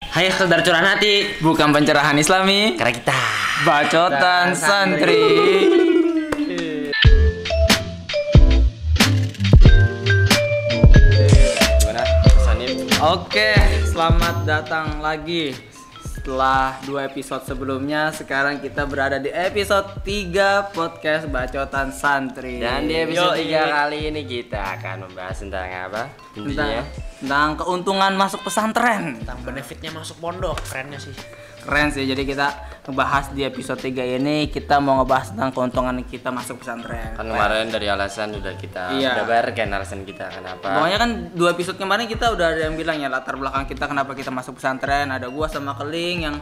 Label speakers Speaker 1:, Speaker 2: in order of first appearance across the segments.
Speaker 1: Hai sekedar curahan hati
Speaker 2: Bukan pencerahan islami
Speaker 1: Karena kita
Speaker 2: Bacotan santri
Speaker 1: Gimana pesannya?
Speaker 2: Oke, selamat datang lagi Setelah dua episode sebelumnya Sekarang kita berada di episode 3 podcast Bacotan Santri
Speaker 1: Dan di episode
Speaker 2: Yoi.
Speaker 1: 3 kali Iya. ini kita akan membahas tentang apa? Tentunya
Speaker 2: tentang, tentang keuntungan masuk pesantren
Speaker 3: tentang benefitnya masuk pondok kerennya sih
Speaker 2: Keren sih, jadi kita ngebahas di episode 3 ini Kita mau ngebahas tentang keuntungan kita masuk pesantren
Speaker 1: Kan kemarin dari alasan udah kita
Speaker 2: Iya.
Speaker 1: Udah barkan alasan kita kenapa
Speaker 2: Pokoknya kan dua episode kemarin kita udah ada yang bilang ya latar belakang kita kenapa kita masuk pesantren. Ada gua sama Keling yang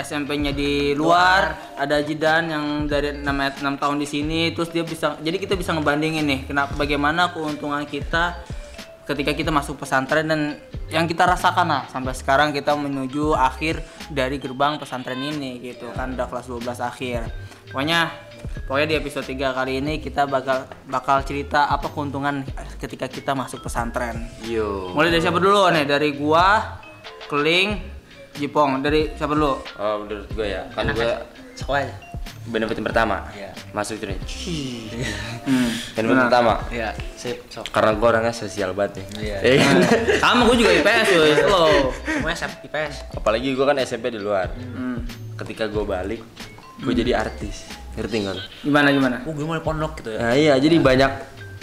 Speaker 2: SMP-nya di luar, ada Jidan yang dari 6, 6 tahun di sini. Terus dia bisa jadi kita bisa ngebandingin nih kenapa bagaimana keuntungan kita ketika kita masuk pesantren dan yang kita rasakan lah sampai sekarang kita menuju akhir dari gerbang pesantren ini gitu kan udah kelas 12 akhir. Pokoknya Pokoknya di episode 3 kali ini kita bakal bakal cerita apa keuntungan ketika kita masuk pesantren.
Speaker 1: Yo
Speaker 2: Mulai dari siapa dulu nih? Dari gua, Keling, Jipong. Dari siapa dulu?
Speaker 1: Oh menurut gue ya Kan gue
Speaker 3: sekolah aja
Speaker 1: benefit yang pertama
Speaker 3: Iya.
Speaker 1: Masuk itu nih
Speaker 2: Hmm.
Speaker 1: Benefit pertama
Speaker 3: iya sip sok
Speaker 1: Karena gue orangnya sosial banget nih
Speaker 3: Iya.
Speaker 1: Iya kan?
Speaker 2: Sama gua juga IPS cuy, lo.
Speaker 3: gue SMP IPS
Speaker 1: Apalagi gue kan SMP di luar
Speaker 2: Hmm.
Speaker 1: Ketika gue balik Gue jadi artis Ngerti nggak lo?
Speaker 2: Gimana gimana?
Speaker 3: oh gue mau di pondok gitu ya
Speaker 1: Nah, iya, jadi banyak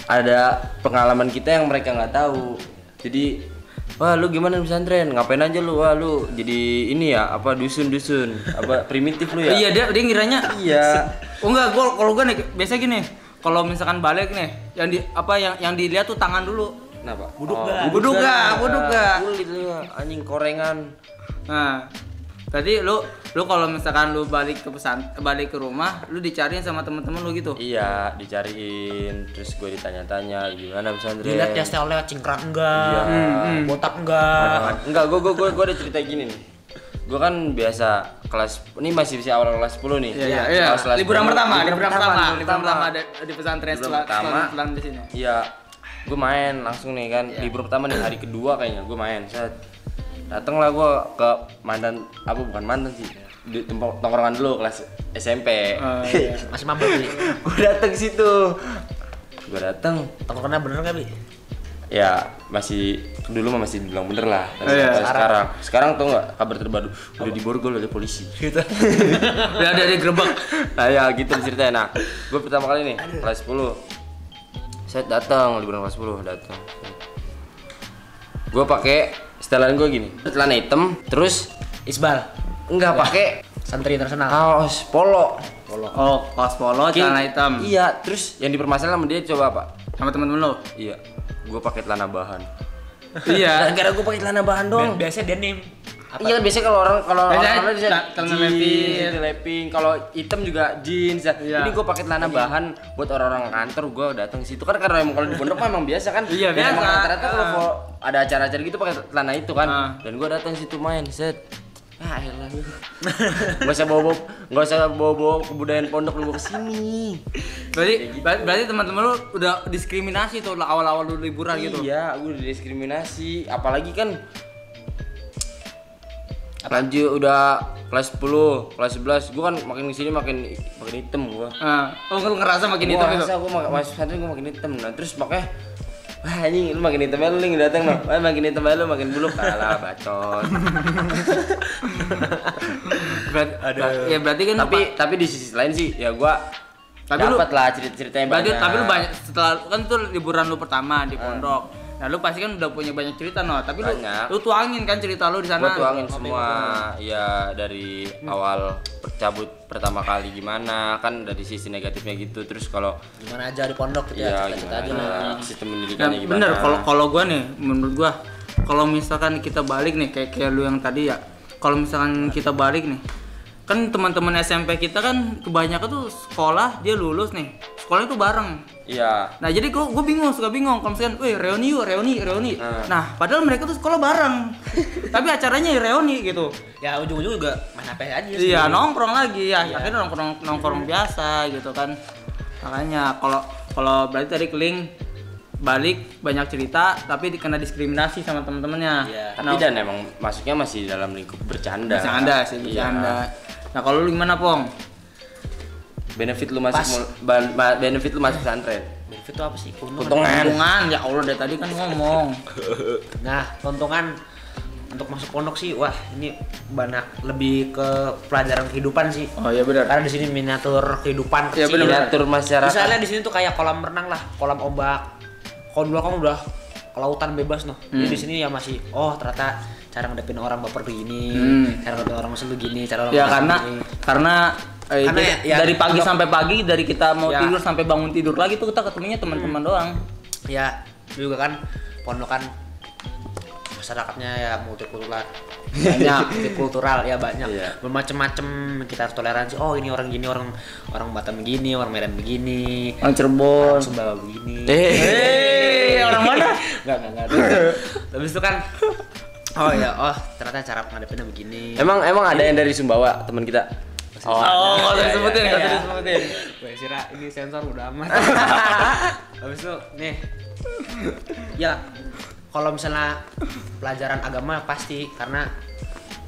Speaker 1: ada pengalaman kita yang mereka nggak tahu. Jadi, wah lu gimana di pesantren? Ngapain aja lu? Wah lu jadi ini ya apa dusun-dusun? Apa primitif lu ya?
Speaker 2: Iya dia dia ngiranya
Speaker 1: Iya.
Speaker 2: Oh enggak, gua kalau gua nih biasa gini. Kalau misalkan balik nih, yang di apa yang yang dilihat tuh tangan dulu.
Speaker 1: Kenapa?
Speaker 3: Buduk
Speaker 1: Oh,
Speaker 3: ga?
Speaker 2: Buduk ga? Buduk ga?
Speaker 1: Kulit lu ya, anjing korengan.
Speaker 2: Nah, berarti lu lu kalau misalkan lu balik ke pesan balik ke rumah, lu dicariin sama temen-temen lu gitu.
Speaker 1: Iya, dicariin terus gue ditanya-tanya gimana pesantren.
Speaker 3: dilihat ya style lewat cingkrang enggak Hmm,
Speaker 1: Iya.
Speaker 3: botak enggak
Speaker 1: Enggak, gue gue gue gue ada cerita gini nih. Gue kan biasa kelas ini masih bisa awal kelas 10 nih.
Speaker 2: Iya, iya.
Speaker 1: Kelas- kelas
Speaker 2: Liburan
Speaker 1: 10.
Speaker 2: pertama, liburan pertama,
Speaker 1: liburan
Speaker 2: liburan pertama ada di pesantren
Speaker 1: Liburan
Speaker 2: setelah
Speaker 1: pertama.
Speaker 2: setelah setelah di sini.
Speaker 1: Iya, gue main langsung nih kan. Libur pertama nih hari kedua kayaknya gue main. Set. Datanglah gue ke mantan, apa bukan mantan sih, di tempat tongkrongan dulu kelas SMP.
Speaker 2: Eh, iya.
Speaker 3: masih mabuk sih
Speaker 1: gue datang situ. Gue datang,
Speaker 3: tongkrongan bener nggak bi
Speaker 1: ya masih dulu mah masih dibilang bener lah. Tapi
Speaker 2: Iya.
Speaker 1: kalau sekarang, sekarang tau nggak kabar terbaru? Udah diborgol oleh polisi.
Speaker 2: Udah ada di gerbek.
Speaker 1: nah ya gitu ceritanya nah gue pertama kali nih kelas 10 saya datang liburan kelas 10 datang gue pakai setelan gue gini celana hitam terus
Speaker 3: Isbal
Speaker 1: nggak pakai
Speaker 3: Iya. santri internasional
Speaker 1: kaos polo
Speaker 2: Oh, kaos polo, celana hitam.
Speaker 1: iya terus yang dipermasalahin sama dia coba apa
Speaker 2: Sama temen-temen lu.
Speaker 1: iya gue pakai celana bahan
Speaker 2: Iya.
Speaker 1: gara-gara gue pakai celana bahan dong
Speaker 3: Bi- biasanya denim
Speaker 1: Iya kan biasanya kalau orang kalau orang
Speaker 2: Biasanya
Speaker 1: orang
Speaker 2: celana- Eh, celana leping.
Speaker 1: jeans, leping. Kalau hitam juga jeans. Nah,
Speaker 2: Iya.
Speaker 1: Ini gue pakai celana bahan buat orang-orang kantor gue datang situ kan karena emang kalau di pondok mah emang biasa kan.
Speaker 2: Iya,
Speaker 1: Dan emang
Speaker 2: biasa.
Speaker 1: Rata-rata kalau
Speaker 2: Ah.
Speaker 1: kalau ada acara-acara gitu pakai celana itu kan.
Speaker 2: Ah.
Speaker 1: Dan gue datang situ main set. Ah, elah lu. Gak usah bawa-bawa, gak usah bawa-bawa kebudayaan pondok lu bawa kesini.
Speaker 2: Berarti ber- berarti teman-temen lu udah diskriminasi tuh awal-awal lu liburan gitu.
Speaker 1: Iya, gue udah diskriminasi. Apalagi kan lanjut udah kelas 10, kelas 11, gue kan makin kesini makin makin hitam gue.
Speaker 2: Heeh. oh, lu ngerasa makin hitam gitu? ya? itu.
Speaker 1: Masa gue makin masuk pesantren gue makin hitam. Nah terus makanya Wah anjing lu makin hitam aja lu Ling, datang no. Wah makin hitam aja lu makin buluk kalah bacot.
Speaker 2: Berarti, ya berarti kan
Speaker 1: tapi tapi di sisi lain sih ya gua
Speaker 2: Tapi lu-
Speaker 1: dapat lah cerita-cerita yang
Speaker 2: Berarti
Speaker 1: banyak.
Speaker 2: tapi lu banyak setelah kan itu liburan lu pertama di pondok. Nah, lu pasti kan udah punya banyak cerita no, tapi lu
Speaker 1: Banyak.
Speaker 2: lu tuangin kan cerita lu di sana. Nah,
Speaker 1: gue tuangin semua ya dari awal cabut pertama kali gimana kan dari sisi negatifnya gitu terus kalau
Speaker 3: gimana aja di pondok gitu ya
Speaker 1: ya
Speaker 3: cerita aja lah
Speaker 1: gimana sistem
Speaker 2: Nah,
Speaker 1: pendidikannya gimana
Speaker 2: bener kalau kalau gua nih menurut gua kalau misalkan kita balik nih kayak kayak lu yang tadi ya. Kalau misalkan kita balik nih kan teman-teman SMP kita kan kebanyakan tuh sekolah dia lulus nih. Sekolahnya tuh bareng.
Speaker 1: iya
Speaker 2: Nah jadi gue gue bingung suka bingung kalau misalkan, weh reuni yuk reuni reuni.
Speaker 1: Hmm.
Speaker 2: Nah padahal mereka tuh sekolah bareng, tapi acaranya reuni gitu.
Speaker 3: ya ujung-ujung juga main HP aja sih.
Speaker 2: Iya nongkrong lagi ya, akhirnya nongkrong nongkrong biasa gitu kan. Makanya kalau kalau berarti tadi keling balik banyak cerita tapi dikena diskriminasi sama teman-temannya.
Speaker 3: Iya.
Speaker 1: Tapi dan emang masuknya masih dalam lingkup bercanda.
Speaker 2: Kan bercanda sih
Speaker 1: Iya.
Speaker 2: bercanda. Nah kalau lu gimana Pong?
Speaker 1: Benefit lu masuk
Speaker 3: Pas.
Speaker 1: mul- ba- ba- benefit lu masuk pesantren.
Speaker 3: Benefit itu apa sih? Keuntungan.
Speaker 1: Keuntungan.
Speaker 2: Hubungan ya Allah dari tadi kan ngomong.
Speaker 3: Nah, keuntungan untuk masuk pondok sih, wah ini banyak lebih ke pelajaran kehidupan sih.
Speaker 2: Oh iya benar.
Speaker 3: Karena di sini miniatur kehidupan
Speaker 1: Ya,
Speaker 3: kecil.
Speaker 1: miniatur masyarakat.
Speaker 3: Misalnya di sini tuh kayak kolam renang lah, kolam ombak. Kalau dulu kan udah ke lautan bebas noh. Jadi di sini ya masih oh ternyata cara ngadepin orang baper begini,
Speaker 2: Hmm.
Speaker 3: cara ngadepin orang musuh begini, cara orang
Speaker 2: Ya
Speaker 3: marah
Speaker 2: karena
Speaker 3: begini.
Speaker 2: karena eh,
Speaker 3: Karena
Speaker 2: itu
Speaker 3: ya-
Speaker 2: dari pagi
Speaker 3: pondok-
Speaker 2: sampai pagi dari kita mau
Speaker 3: Ya.
Speaker 2: tidur sampai bangun tidur lagi tuh kita ketemunya teman-teman doang.
Speaker 3: ya juga kan pondokan masyarakatnya ya multikultural banyak multikultural ya banyak
Speaker 1: Iya.
Speaker 3: bermacam-macam kita harus toleransi oh ini orang gini orang orang Batam begini orang Medan begini
Speaker 2: Orang Cirebon.
Speaker 3: orang Sumbawa begini
Speaker 2: Eh, orang mana?
Speaker 3: Enggak, enggak, enggak. Habis itu kan Oh ya, oh ternyata cara menghadapinya begini.
Speaker 1: Emang emang ada yang dari Sumbawa teman kita.
Speaker 2: Oh, nggak usah
Speaker 1: Iya,
Speaker 2: disebutin,
Speaker 1: iya,
Speaker 2: nggak usah
Speaker 1: iya.
Speaker 2: disebutin.
Speaker 3: Gue Sira, ini sensor udah amat. Habis itu nih. Ya kalau misalnya pelajaran agama pasti karena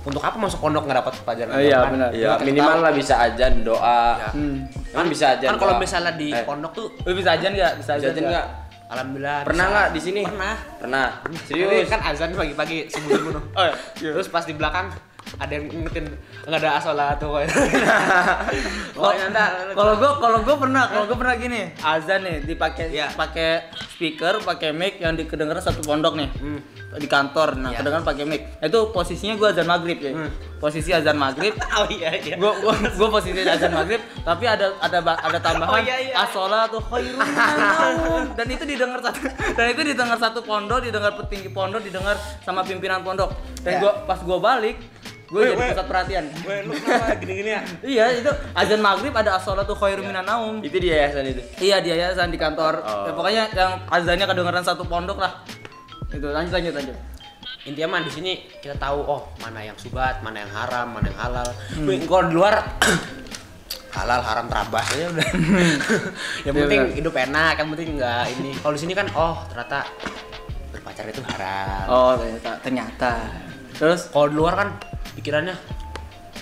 Speaker 3: untuk apa masuk pondok nggak dapat pelajaran
Speaker 2: Oh,
Speaker 3: agama?
Speaker 2: iya,
Speaker 3: kan?
Speaker 2: benar.
Speaker 1: Iya,
Speaker 3: Kita
Speaker 1: minimal
Speaker 3: tahu.
Speaker 1: lah bisa aja doa.
Speaker 3: Ya.
Speaker 2: Hmm.
Speaker 1: Kan bisa Eh, aja.
Speaker 3: Kan kalau misalnya di pondok tuh
Speaker 2: Lu bisa aja nggak? Bisa aja
Speaker 1: Jajan
Speaker 2: nggak?
Speaker 1: enggak?
Speaker 3: alhamdulillah
Speaker 1: Pernah
Speaker 3: bisa.
Speaker 1: nggak di sini?
Speaker 3: Pernah.
Speaker 1: Pernah.
Speaker 3: Serius
Speaker 1: Serius.
Speaker 3: kan azan pagi-pagi sebelum bunuh.
Speaker 2: Oh, iya.
Speaker 3: Terus pas di belakang ada yang ngingetin nggak ada asola tuh.
Speaker 2: Kalau-
Speaker 3: Pokoknya ntar
Speaker 2: Kalau gua kalau gua pernah kalau gua pernah gini Eh, azan nih dipakai
Speaker 3: Iya.
Speaker 2: pakai speaker pakai mic yang dikedengeran satu pondok nih
Speaker 3: Hmm.
Speaker 2: di kantor nah
Speaker 3: Iya.
Speaker 2: kedengeran pakai mic Nah, itu posisinya gua azan maghrib ya
Speaker 3: Hmm.
Speaker 2: posisi azan maghrib
Speaker 3: Oh iya iya.
Speaker 2: gua gua, gua posisi azan maghrib tapi ada ada ba- ada tambahan
Speaker 3: Oh, iya, iya.
Speaker 2: asolatu khairun minan naum." dan itu didengar satu dan itu didengar satu pondok didengar petinggi pondok didengar sama pimpinan pondok dan
Speaker 3: Ya.
Speaker 2: gua pas gua balik gua jadi
Speaker 3: Weh, weh.
Speaker 2: pusat perhatian
Speaker 3: Weh, lu kenapa gini-gini ya?
Speaker 2: iya itu azan maghrib ada asolatu khairun minan naum
Speaker 1: Itu di yayasan itu.
Speaker 2: Iya di yayasan di kantor.
Speaker 1: Oh.
Speaker 2: Ya, pokoknya yang azannya kedengeran satu pondok lah. Itu lanjut lanjut lanjut.
Speaker 3: Intinya mah di sini kita tahu oh mana yang subat, mana yang haram, mana yang halal.
Speaker 2: Hmm.
Speaker 3: Wih, Kalau di luar halal haram terabas aja udah. yang
Speaker 2: Iya,
Speaker 3: penting
Speaker 2: benar.
Speaker 3: hidup enak, yang penting enggak ini. Kalau di sini kan oh ternyata berpacar itu haram.
Speaker 2: Oh ternyata ternyata. Terus
Speaker 3: Kalau di luar kan pikirannya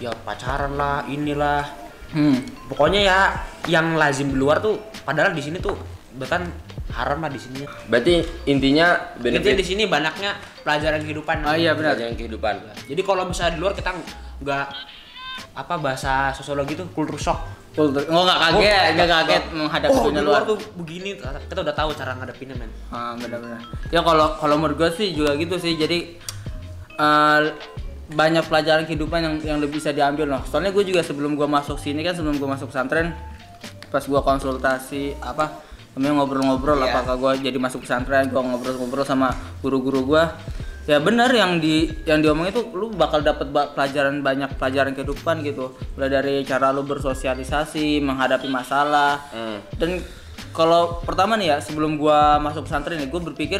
Speaker 3: ya pacaran lah, inilah.
Speaker 2: hmm.
Speaker 3: Pokoknya ya yang lazim di luar tuh padahal di sini tuh bahkan haram lah di sini.
Speaker 1: Berarti intinya
Speaker 3: Intinya di
Speaker 1: benefit Ah,
Speaker 3: sini banyaknya pelajaran kehidupan.
Speaker 2: Oh iya benar.
Speaker 1: yang kehidupan.
Speaker 3: Jadi kalau misalnya di luar kita nggak apa bahasa sosiologi itu culture shock.
Speaker 2: Kultur. Oh nggak kaget,
Speaker 3: Oh,
Speaker 2: nggak kaget
Speaker 3: oh,
Speaker 2: menghadapi
Speaker 3: oh,
Speaker 2: dunia
Speaker 3: di
Speaker 2: luar.
Speaker 3: luar tuh begini ternyata kita udah tahu cara ngadepinnya men.
Speaker 2: Ah benar-benar. Ya kalau kalau menurut gue sih juga gitu sih. Jadi eh, banyak pelajaran kehidupan yang yang lebih bisa diambil loh. Soalnya gue juga sebelum gue masuk sini kan sebelum gue masuk pesantren pas gue konsultasi apa namanya ngobrol-ngobrol
Speaker 3: Iya.
Speaker 2: apakah gue jadi masuk pesantren gue ngobrol-ngobrol sama guru-guru gue ya benar yang di yang diomongin itu lu bakal dapat ba- pelajaran banyak pelajaran kehidupan gitu mulai dari cara lu bersosialisasi menghadapi masalah
Speaker 1: Hmm.
Speaker 2: dan kalau pertama nih ya sebelum gua masuk pesantren nih gua berpikir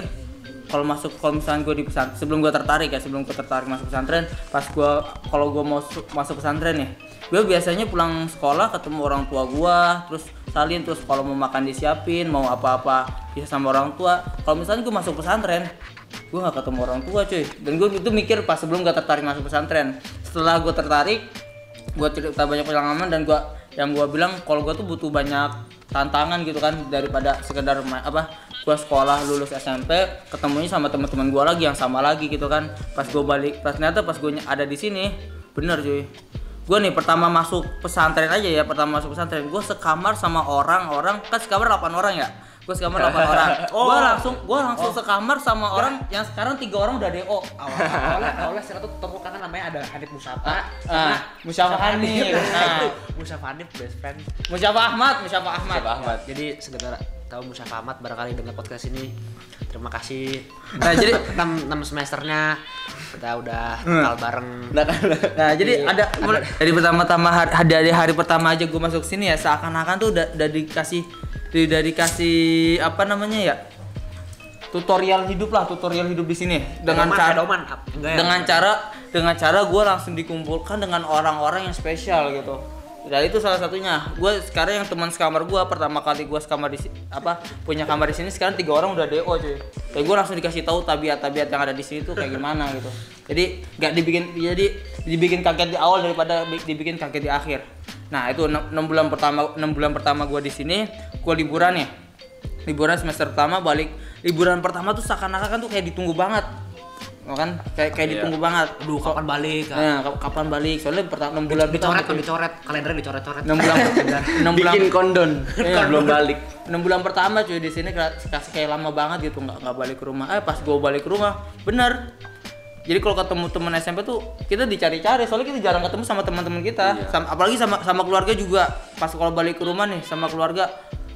Speaker 2: kalau masuk kalau misalnya gua di pesantren sebelum gua tertarik ya sebelum gua tertarik masuk pesantren pas gua kalau gua mau su- masuk pesantren nih gua biasanya pulang sekolah ketemu orang tua gua terus salin terus kalau mau makan disiapin mau apa-apa bisa sama orang tua kalau misalnya gua masuk pesantren gue gak ketemu orang tua cuy dan gue itu mikir pas sebelum gak tertarik masuk pesantren setelah gue tertarik gue cerita banyak pengalaman dan gue yang gue bilang kalau gue tuh butuh banyak tantangan gitu kan daripada sekedar ma- apa gue sekolah lulus SMP ketemunya sama teman-teman gue lagi yang sama lagi gitu kan pas gue balik pas ternyata pas gue ada di sini bener cuy gue nih pertama masuk pesantren aja ya pertama masuk pesantren gue sekamar sama orang-orang kan sekamar 8 orang ya gue sekamar 8 orang gue langsung gue langsung sekamar sama orang yang sekarang tiga orang udah do
Speaker 3: Awalnya awalnya setelah tuh ketemu kan namanya ada Hanif Musafa.
Speaker 2: ah musyafa Hanif nah
Speaker 3: Musafa Hanif best friend.
Speaker 2: musyafa Ahmad musyafa Ahmad
Speaker 1: Siapa Ahmad?
Speaker 3: Jadi sekedar tahu Musafa Ahmad barangkali dengar podcast ini. Terima kasih.
Speaker 2: nah jadi
Speaker 3: 6, semesternya kita udah
Speaker 1: Hmm.
Speaker 3: kenal bareng.
Speaker 2: Nah, nah, jadi ada mulai- dari pertama-tama hari, dari hari pertama aja gue masuk sini ya seakan-akan tuh udah, udah dikasih udah dikasih apa namanya ya tutorial hidup lah tutorial hidup di sini dengan
Speaker 3: Eh, Doman,
Speaker 2: cara
Speaker 3: ada Oman, enggak ya?
Speaker 2: dengan cara dengan cara gue langsung dikumpulkan dengan orang-orang yang spesial gitu Ya itu salah satunya. Gue sekarang yang teman sekamar gue pertama kali gue sekamar di si- apa punya kamar di sini sekarang tiga orang udah DO cuy. Kayak gue langsung dikasih tahu tabiat-tabiat yang ada di sini tuh kayak gimana gitu. Jadi nggak dibikin jadi dibikin kaget di awal daripada bi- dibikin kaget di akhir. Nah itu 6 bulan pertama 6 bulan pertama gue di sini gue liburan ya. Liburan semester pertama balik liburan pertama tuh seakan-akan tuh kayak ditunggu banget. Kan kayak kayak ditunggu banget.
Speaker 3: Aduh, kapan balik? Kak?
Speaker 2: Nah, kap- kapan balik? Soalnya pertama 6 bulan
Speaker 3: Dicoret kan dicoret, kalendernya dicoret-coret.
Speaker 2: 6 bulan 6 bulan
Speaker 1: Bikin kondon,
Speaker 2: Iya.
Speaker 1: belum balik.
Speaker 2: 6 bulan pertama cuy di sini kayak kayak lama banget gitu nggak nggak balik ke rumah. Eh pas gua balik ke rumah, bener. Jadi kalau ketemu temen SMP tuh kita dicari-cari soalnya kita jarang ketemu sama teman-teman kita. Sama- apalagi sama sama keluarga juga. Pas kalau balik ke rumah nih sama keluarga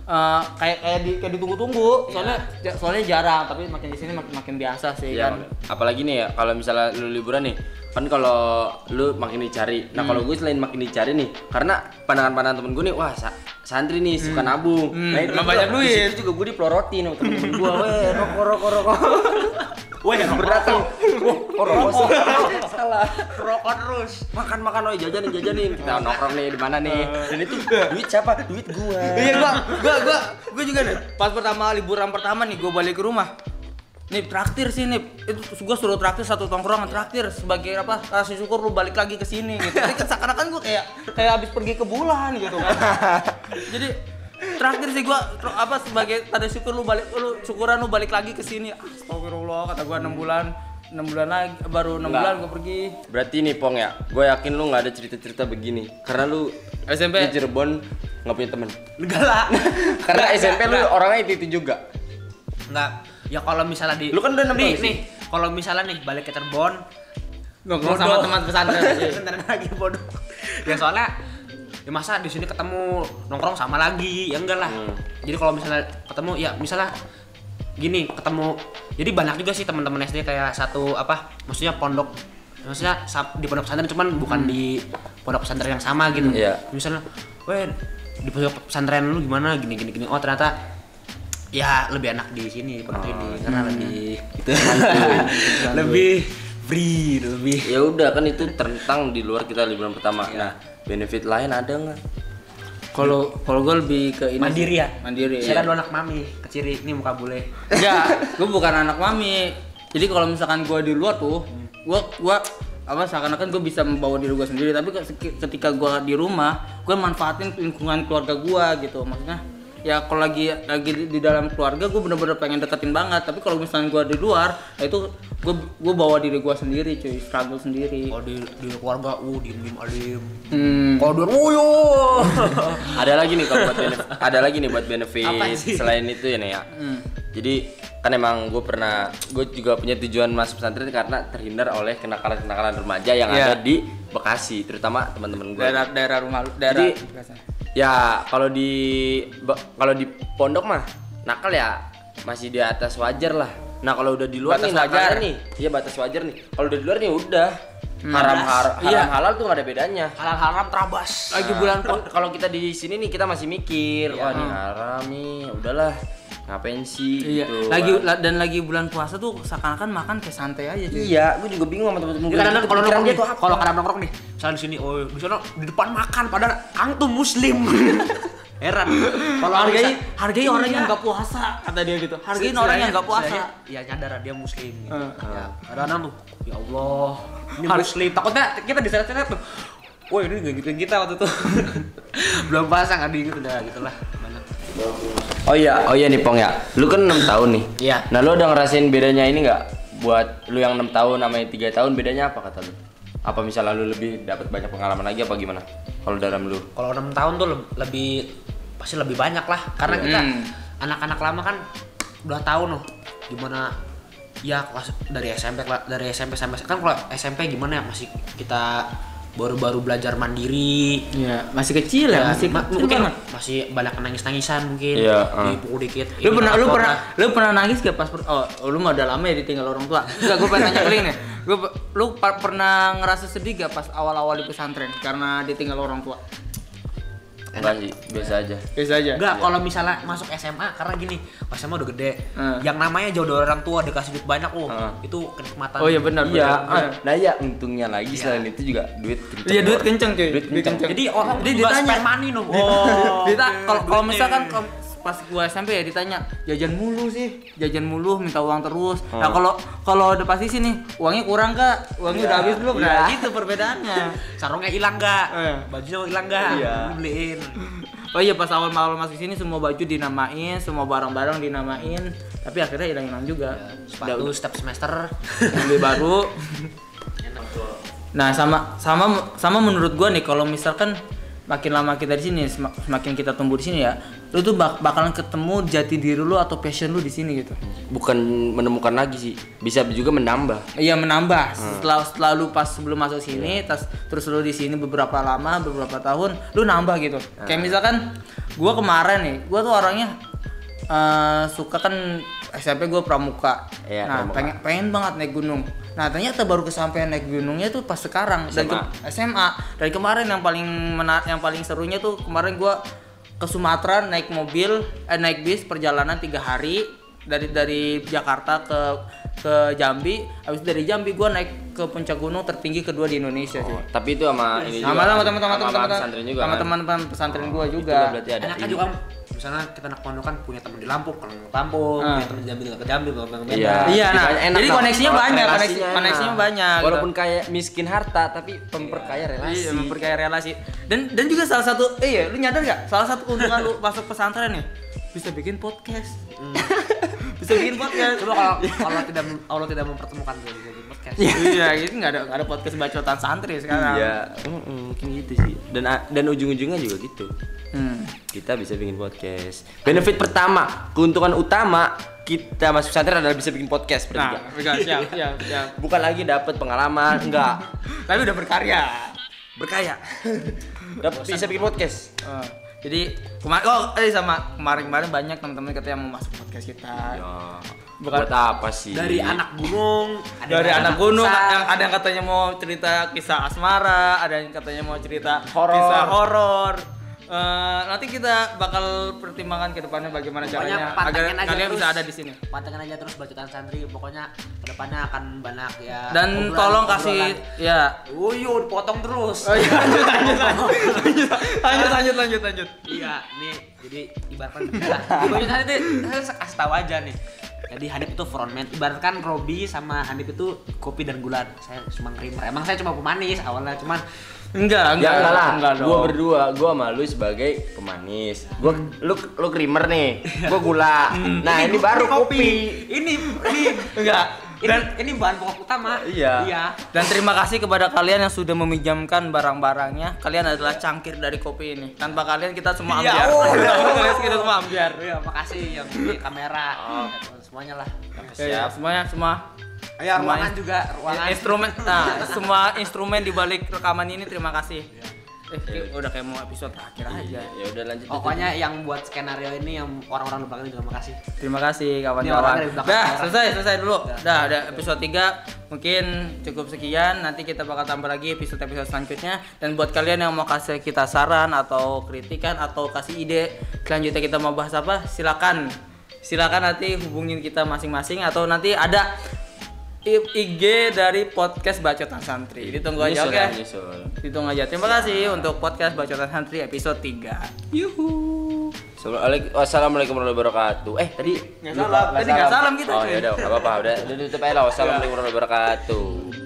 Speaker 2: eh, kayak kayak, di, kayak ditunggu-tunggu. Soalnya ja- soalnya jarang tapi makin di sini makin, makin biasa sih
Speaker 1: Iya,
Speaker 2: kan.
Speaker 1: apalagi nih ya kalau misalnya lu liburan nih, kan kalau lu makin dicari. Nah, kalau gue selain makin dicari nih, karena pandangan-pandangan temen gue nih, wah sa- santri nih suka nabung. Nah, itu
Speaker 2: emang banyak
Speaker 1: juga-
Speaker 2: duit.
Speaker 1: di situ juga gue diplorotin sama temen gue, weh rokok rokok rokok. Weh, berat tuh. Wah, rokok
Speaker 2: Oh.
Speaker 1: rokok. Salah.
Speaker 3: Rokok terus.
Speaker 1: Makan makan weh jajanin jajanin. Kita nongkrong nih di mana nih? Dan itu duit siapa? Duit gue.
Speaker 2: Iya gua, gua, gua, gua juga nih. Pas pertama liburan pertama nih, gua balik ke rumah. Nip traktir sih nip. Itu gua suruh traktir satu tongkrongan traktir sebagai apa? Rasa syukur lu balik lagi ke sini gitu. Jadi kan seakan-akan gua kayak kayak habis pergi ke bulan gitu. Jadi traktir sih gua tro- apa sebagai tanda syukur lu balik lu syukuran lu balik lagi ke sini. Astagfirullah kata gua 6 bulan 6 bulan lagi baru 6
Speaker 1: Enggak.
Speaker 2: bulan gua pergi.
Speaker 1: Berarti nih Pong ya, gue yakin lu nggak ada cerita-cerita begini karena lu
Speaker 2: SMP.
Speaker 1: di Cirebon nggak punya temen.
Speaker 3: Enggak lah.
Speaker 1: Karena SMP lu orangnya itu itu juga.
Speaker 3: Enggak. Ya kalau misalnya di
Speaker 1: Lu kan udah nembak
Speaker 3: nih,
Speaker 1: sih.
Speaker 3: nih. Kalau misalnya nih balik ke Cirebon,
Speaker 2: Nongkrong sama teman pesantren. Iya.
Speaker 3: pesantren lagi bodoh. Ya soalnya ya masa di sini ketemu nongkrong sama lagi ya enggak lah jadi kalau misalnya ketemu ya misalnya gini ketemu jadi banyak juga sih teman-teman SD kayak satu apa maksudnya pondok maksudnya sa- di pondok pesantren cuman bukan di pondok pesantren yang sama gitu
Speaker 1: Hmm, iya.
Speaker 3: misalnya weh di pondok pesantren lu gimana gini gini gini oh ternyata ya lebih enak di sini di pondok ini karena lebih gitu lebih free lebih
Speaker 1: Ya udah kan itu tentang di luar kita liburan pertama. Nah, benefit lain ada nggak?
Speaker 2: Kalau kalau gua lebih ke ini sih.
Speaker 3: mandiri ya
Speaker 2: Mandiri.
Speaker 3: saya lu anak mami keciri ini muka bule
Speaker 2: Enggak, gue bukan anak mami. Jadi kalau misalkan gue di luar tuh, gue gua apa seakan-akan gue bisa membawa diri gue sendiri. Tapi ke- ketika gue di rumah, gue manfaatin lingkungan keluarga gue gitu. Maksudnya ya kalau lagi lagi di, di dalam keluarga gue bener-bener pengen deketin banget. Tapi kalau misalkan gue di luar, ya itu gue gue bawa diri gue sendiri, cuy, struggle sendiri.
Speaker 3: kalau Oh, di, di keluarga uh diem diem alim
Speaker 2: Hmm.
Speaker 3: kalau di uyo
Speaker 1: Ada lagi nih kalau buat benefit. ada lagi nih buat benefit
Speaker 3: Apa sih?
Speaker 1: selain itu ya nih ya. Jadi kan emang gue pernah gue juga punya tujuan masuk pesantren karena terhindar oleh kenakalan-kenakalan remaja yang
Speaker 2: Iya.
Speaker 1: ada di Bekasi, terutama teman-teman gue.
Speaker 2: Daerah daerah rumah lu- daerah.
Speaker 1: Jadi- Ya kalau di ba- kalau di pondok mah nakal ya masih di atas wajar lah. Nah kalau udah di luar
Speaker 2: Batas
Speaker 1: nih nakalnya
Speaker 2: wajar.
Speaker 1: nih, iya batas wajar nih. Kalau udah di luar nih ya udah haram har- haram
Speaker 2: Iya.
Speaker 1: halal tuh nggak ada bedanya.
Speaker 3: Hmm. halal haram terabas
Speaker 1: Lagi bulan pun- kalau kita di sini nih kita masih
Speaker 3: Iya.
Speaker 1: mikir, wah ini haram nih, Ya udahlah ngapain sih
Speaker 2: Iya.
Speaker 1: gitu.
Speaker 2: Lagi la- dan lagi bulan puasa tuh seakan-akan makan kayak santai aja, cuy.
Speaker 1: iya, gue juga bingung sama temen-temen
Speaker 3: Jadi
Speaker 1: gue.
Speaker 3: kadang Iya, kalau
Speaker 1: Pikiran
Speaker 3: nongkrong
Speaker 1: dia
Speaker 3: nih,
Speaker 1: tuh apa?
Speaker 3: kalau kadang nongkrong nih, misalnya di sini, oh, di sana di depan makan, padahal antum muslim. Heran. Kalau
Speaker 2: hargai
Speaker 3: bisa-
Speaker 2: hargai orang
Speaker 3: Iya.
Speaker 2: yang nggak puasa kata dia gitu hargai
Speaker 3: Setidaknya-
Speaker 2: orang yang nggak puasa
Speaker 3: setidaknya Ya nyadar dia muslim. Gitu.
Speaker 2: Eh.
Speaker 3: Ya, kadang-kadang tuh, ya Allah, ini muslim. Takutnya kita diseret-seret tuh. Woi, ini gak gitu kita waktu itu. Belum pasang ada inget udah gitu lah. Banyak.
Speaker 1: Oh iya, oh iya nih Pong ya. Lu kan 6 tahun nih.
Speaker 3: Iya.
Speaker 1: Nah, lu udah ngerasain bedanya ini nggak? Buat lu yang 6 tahun sama yang 3 tahun bedanya apa kata lu? Apa misalnya lu lebih dapat banyak pengalaman lagi apa gimana? Kalau dalam lu.
Speaker 3: Kalau 6 tahun tuh leb- lebih pasti lebih banyak lah karena kita
Speaker 2: Hmm.
Speaker 3: anak-anak lama kan udah tahu noh gimana ya kelas dari SMP kela- dari SMP sampai kan kalau SMP gimana ya masih kita baru-baru belajar mandiri
Speaker 2: Iya, masih kecil ya, masih
Speaker 3: ma-
Speaker 2: kecil
Speaker 3: mungkin
Speaker 2: banget.
Speaker 3: masih banyak nangis-nangisan mungkin
Speaker 1: Iya, ah.
Speaker 3: dipukul dikit
Speaker 2: lu
Speaker 3: ini
Speaker 2: pernah lu
Speaker 3: apa,
Speaker 2: pernah
Speaker 3: apa.
Speaker 2: lu pernah nangis gak pas per- oh lu mah udah lama ya ditinggal orang tua enggak gue pengen nanya ke lu nih Gua pe- lu pa- pernah ngerasa sedih gak pas awal-awal di pesantren karena ditinggal orang tua
Speaker 1: Enggak sih, biasa aja.
Speaker 4: Biasa aja.
Speaker 1: Iya.
Speaker 3: Enggak, kalau misalnya masuk SMA karena gini, pas SMA udah gede.
Speaker 1: Ah.
Speaker 2: Hmm.
Speaker 3: Yang namanya jauh dari orang tua, dikasih duit banyak, oh,
Speaker 1: Hmm.
Speaker 3: itu kenikmatan.
Speaker 2: Oh iya benar.
Speaker 1: Iya,
Speaker 2: benar,
Speaker 1: ah,
Speaker 2: benar.
Speaker 1: nah ya untungnya lagi selain itu juga duit kenceng.
Speaker 2: Iya duit kenceng cuy.
Speaker 1: Duit kenceng.
Speaker 2: Kan
Speaker 3: Jadi oh, orang
Speaker 2: Jadi
Speaker 3: juga
Speaker 2: ditanya.
Speaker 3: spend money dong.
Speaker 2: Oh. Dita, kalau kalau
Speaker 3: duitnya.
Speaker 2: misalkan kalau pas gua SMP ya ditanya jajan mulu sih, jajan mulu minta uang terus. Nah kalau kalau udah pasti sih nih uangnya kurang kak, uangnya udah habis belum? Nah gitu perbedaannya.
Speaker 3: Sarungnya hilang nggak?
Speaker 2: Iya.
Speaker 3: Bajunya hilang nggak?
Speaker 1: Iya.
Speaker 3: Beliin.
Speaker 2: Oh iya pas awal-awal masuk sini semua baju dinamain, semua barang-barang dinamain, tapi akhirnya hilang-hilang juga. Udah-
Speaker 3: Iya, Sepatu setiap semester.
Speaker 2: beli baru. Nah, sama sama sama menurut gua nih kalau misalkan makin lama kita di sini semak- semakin kita tumbuh di sini ya, lu tuh bak- bakalan ketemu jati diri lu atau passion lu di sini gitu.
Speaker 1: Bukan menemukan lagi sih, bisa juga menambah.
Speaker 2: Iya menambah
Speaker 1: Hmm.
Speaker 2: setelah setelah lu pas sebelum masuk sini
Speaker 1: Iya.
Speaker 2: tas- terus lu di sini beberapa lama beberapa tahun lu nambah gitu
Speaker 1: Nah.
Speaker 2: kayak misalkan gua kemarin nih gua tuh orangnya eh, suka kan SMP gua pramuka
Speaker 1: Iya,
Speaker 2: nah
Speaker 1: pramuka.
Speaker 2: pengen pengen banget naik gunung nah ternyata baru kesampaian naik gunungnya tuh pas sekarang dan ke- SMA dari kemarin yang paling menar yang paling serunya tuh kemarin gua ke Sumatera naik mobil eh, naik bis perjalanan tiga hari dari dari Jakarta ke ke Jambi habis dari Jambi gua naik ke puncak gunung tertinggi kedua di Indonesia sih
Speaker 1: Tapi itu sama ini juga.
Speaker 2: Oh.
Speaker 1: kan.
Speaker 2: sama sama teman-teman
Speaker 1: Oh, iya, sama pesantren
Speaker 2: teman-teman
Speaker 1: juga.
Speaker 2: sama
Speaker 1: kan? Oh,
Speaker 2: teman-teman pesantren gua
Speaker 1: Itu
Speaker 2: juga
Speaker 1: udah berarti ada.
Speaker 3: Enaknya juga kan, misalnya kita anak pondokan punya teman di Lampung, kalau nggak ke Lampung,
Speaker 2: Ah.
Speaker 3: punya teman di Jambi nggak ke Jambi, nggak ke
Speaker 1: Iya.
Speaker 2: Iya, nah,
Speaker 1: Jadi enak
Speaker 2: jadi
Speaker 1: lah.
Speaker 2: koneksinya
Speaker 1: Kalau
Speaker 2: banyak,
Speaker 1: relasinya
Speaker 2: koneksi-
Speaker 1: enak.
Speaker 2: koneksinya banyak, gitu.
Speaker 1: Walaupun kayak miskin harta tapi memperkaya relasi.
Speaker 2: Iya, memperkaya relasi. Dan dan juga salah satu eh iya, lu nyadar nggak? Salah satu keuntungan lu masuk pesantren nih bisa bikin podcast.
Speaker 1: Hmm.
Speaker 2: bisa bikin podcast.
Speaker 3: Ya, Coba kalau kalau tidak Allah tidak mempertemukan gue di Jambi podcast.
Speaker 2: Iya, gitu nggak ada nggak ada podcast bacotan santri sekarang.
Speaker 1: Iya, mm-mm, mungkin gitu sih. Dan dan ujung-ujungnya juga gitu.
Speaker 2: Hmm.
Speaker 1: Kita bisa bikin podcast. Benefit pertama, keuntungan utama kita masuk pesantren adalah bisa bikin podcast
Speaker 2: Nah,
Speaker 1: bertiga.
Speaker 2: pegang, siap, siap, siap.
Speaker 1: Bukan lagi dapat pengalaman, enggak.
Speaker 2: Tapi udah berkarya.
Speaker 1: Berkaya. Dapat bisa bikin podcast.
Speaker 2: Eh, jadi kemarin oh eh sama kemarin-kemarin banyak teman-teman katanya mau masuk podcast kita.
Speaker 1: Ya,
Speaker 2: Bukan-
Speaker 1: buat apa sih?
Speaker 3: Dari anak gunung, ada
Speaker 2: Iya. Dari
Speaker 3: yang
Speaker 2: anak gunung,
Speaker 3: hutan.
Speaker 2: yang ada yang katanya mau cerita kisah asmara, ada yang katanya mau cerita
Speaker 1: Horor.
Speaker 2: kisah horor. Eh, nanti kita bakal pertimbangkan ke depannya bagaimana caranya agar
Speaker 3: Pokoknya pantengin aja
Speaker 2: kalian
Speaker 3: terus. Nah,
Speaker 2: bisa ada di sini.
Speaker 3: Pantengin aja terus bacotan santri. Pokoknya kedepannya akan banyak ya. gitu.
Speaker 2: Dan
Speaker 3: obrolan-
Speaker 2: tolong kasih
Speaker 3: obrolan.
Speaker 2: ya.
Speaker 3: Uyuh, potong terus.
Speaker 2: Lanjut lanjut lanjut lanjut.
Speaker 3: Iya, nih jadi ibaratkan kita. Ibaratkan itu saya kasih tahu aja nih. Jadi Hanif itu frontman. Ibaratkan Robi sama Hanif itu kopi dan gula. Saya cuma ngerimer. Emang saya cuma pemanis awalnya, cuman
Speaker 2: Enggak, enggak,
Speaker 1: ya enggak lah,
Speaker 2: dong.
Speaker 1: gue berdua, gue sama lu sebagai pemanis gua, Lu, lu krimer nih, gue gula
Speaker 2: Hmm.
Speaker 1: Nah ini baru kopi
Speaker 3: Ini ini
Speaker 2: enggak.
Speaker 3: ini, ini bahan pokok utama.
Speaker 1: Iya.
Speaker 3: Iya.
Speaker 2: Dan terima kasih kepada kalian yang sudah meminjamkan barang-barangnya. Kalian adalah cangkir dari kopi ini. Tanpa kalian kita semua ambiar.
Speaker 3: Iya, oh,
Speaker 2: kita semua ambiar.
Speaker 3: Iya, makasih yang di kamera, semuanya lah.
Speaker 2: Ya, ya, semuanya semua
Speaker 3: Ya,
Speaker 2: Semuanya.
Speaker 3: ruangan juga, ruangan. Ah.
Speaker 2: instrumen nah semua instrumen di balik rekaman ini terima kasih eh kayak- udah kayak mau episode akhir
Speaker 1: Iya.
Speaker 2: aja Oh,
Speaker 1: Ya udah lanjut
Speaker 3: Pokoknya yang buat skenario ini yang orang-orang di belakang juga makasih.
Speaker 2: terima kasih
Speaker 3: orangnya
Speaker 2: kawan-kawan
Speaker 3: di belakang
Speaker 2: dah
Speaker 3: kamera.
Speaker 2: selesai selesai dulu dah ada episode 3 mungkin cukup sekian nanti kita bakal tambah lagi episode episode selanjutnya dan buat kalian yang mau kasih kita saran atau kritikan atau kasih ide selanjutnya kita mau bahas apa silakan silakan nanti hubungin kita masing-masing atau nanti ada I- IG dari podcast Bacotan Santri. Ditunggu aja oke.
Speaker 1: Nyusul, nyusul.
Speaker 2: Hitung aja. Terima kasih untuk podcast Bacotan Santri episode 3.
Speaker 1: Assalamualaikum- Wassalamualaikum warahmatullahi wabarakatuh Eh tadi
Speaker 2: Nggak salam, tadi nggak salam kita,
Speaker 1: Oh
Speaker 2: cuy. Iya.
Speaker 1: yaudah nggak apa-apa udah Udah tutup aja lah Wassalamualaikum warahmatullahi wabarakatuh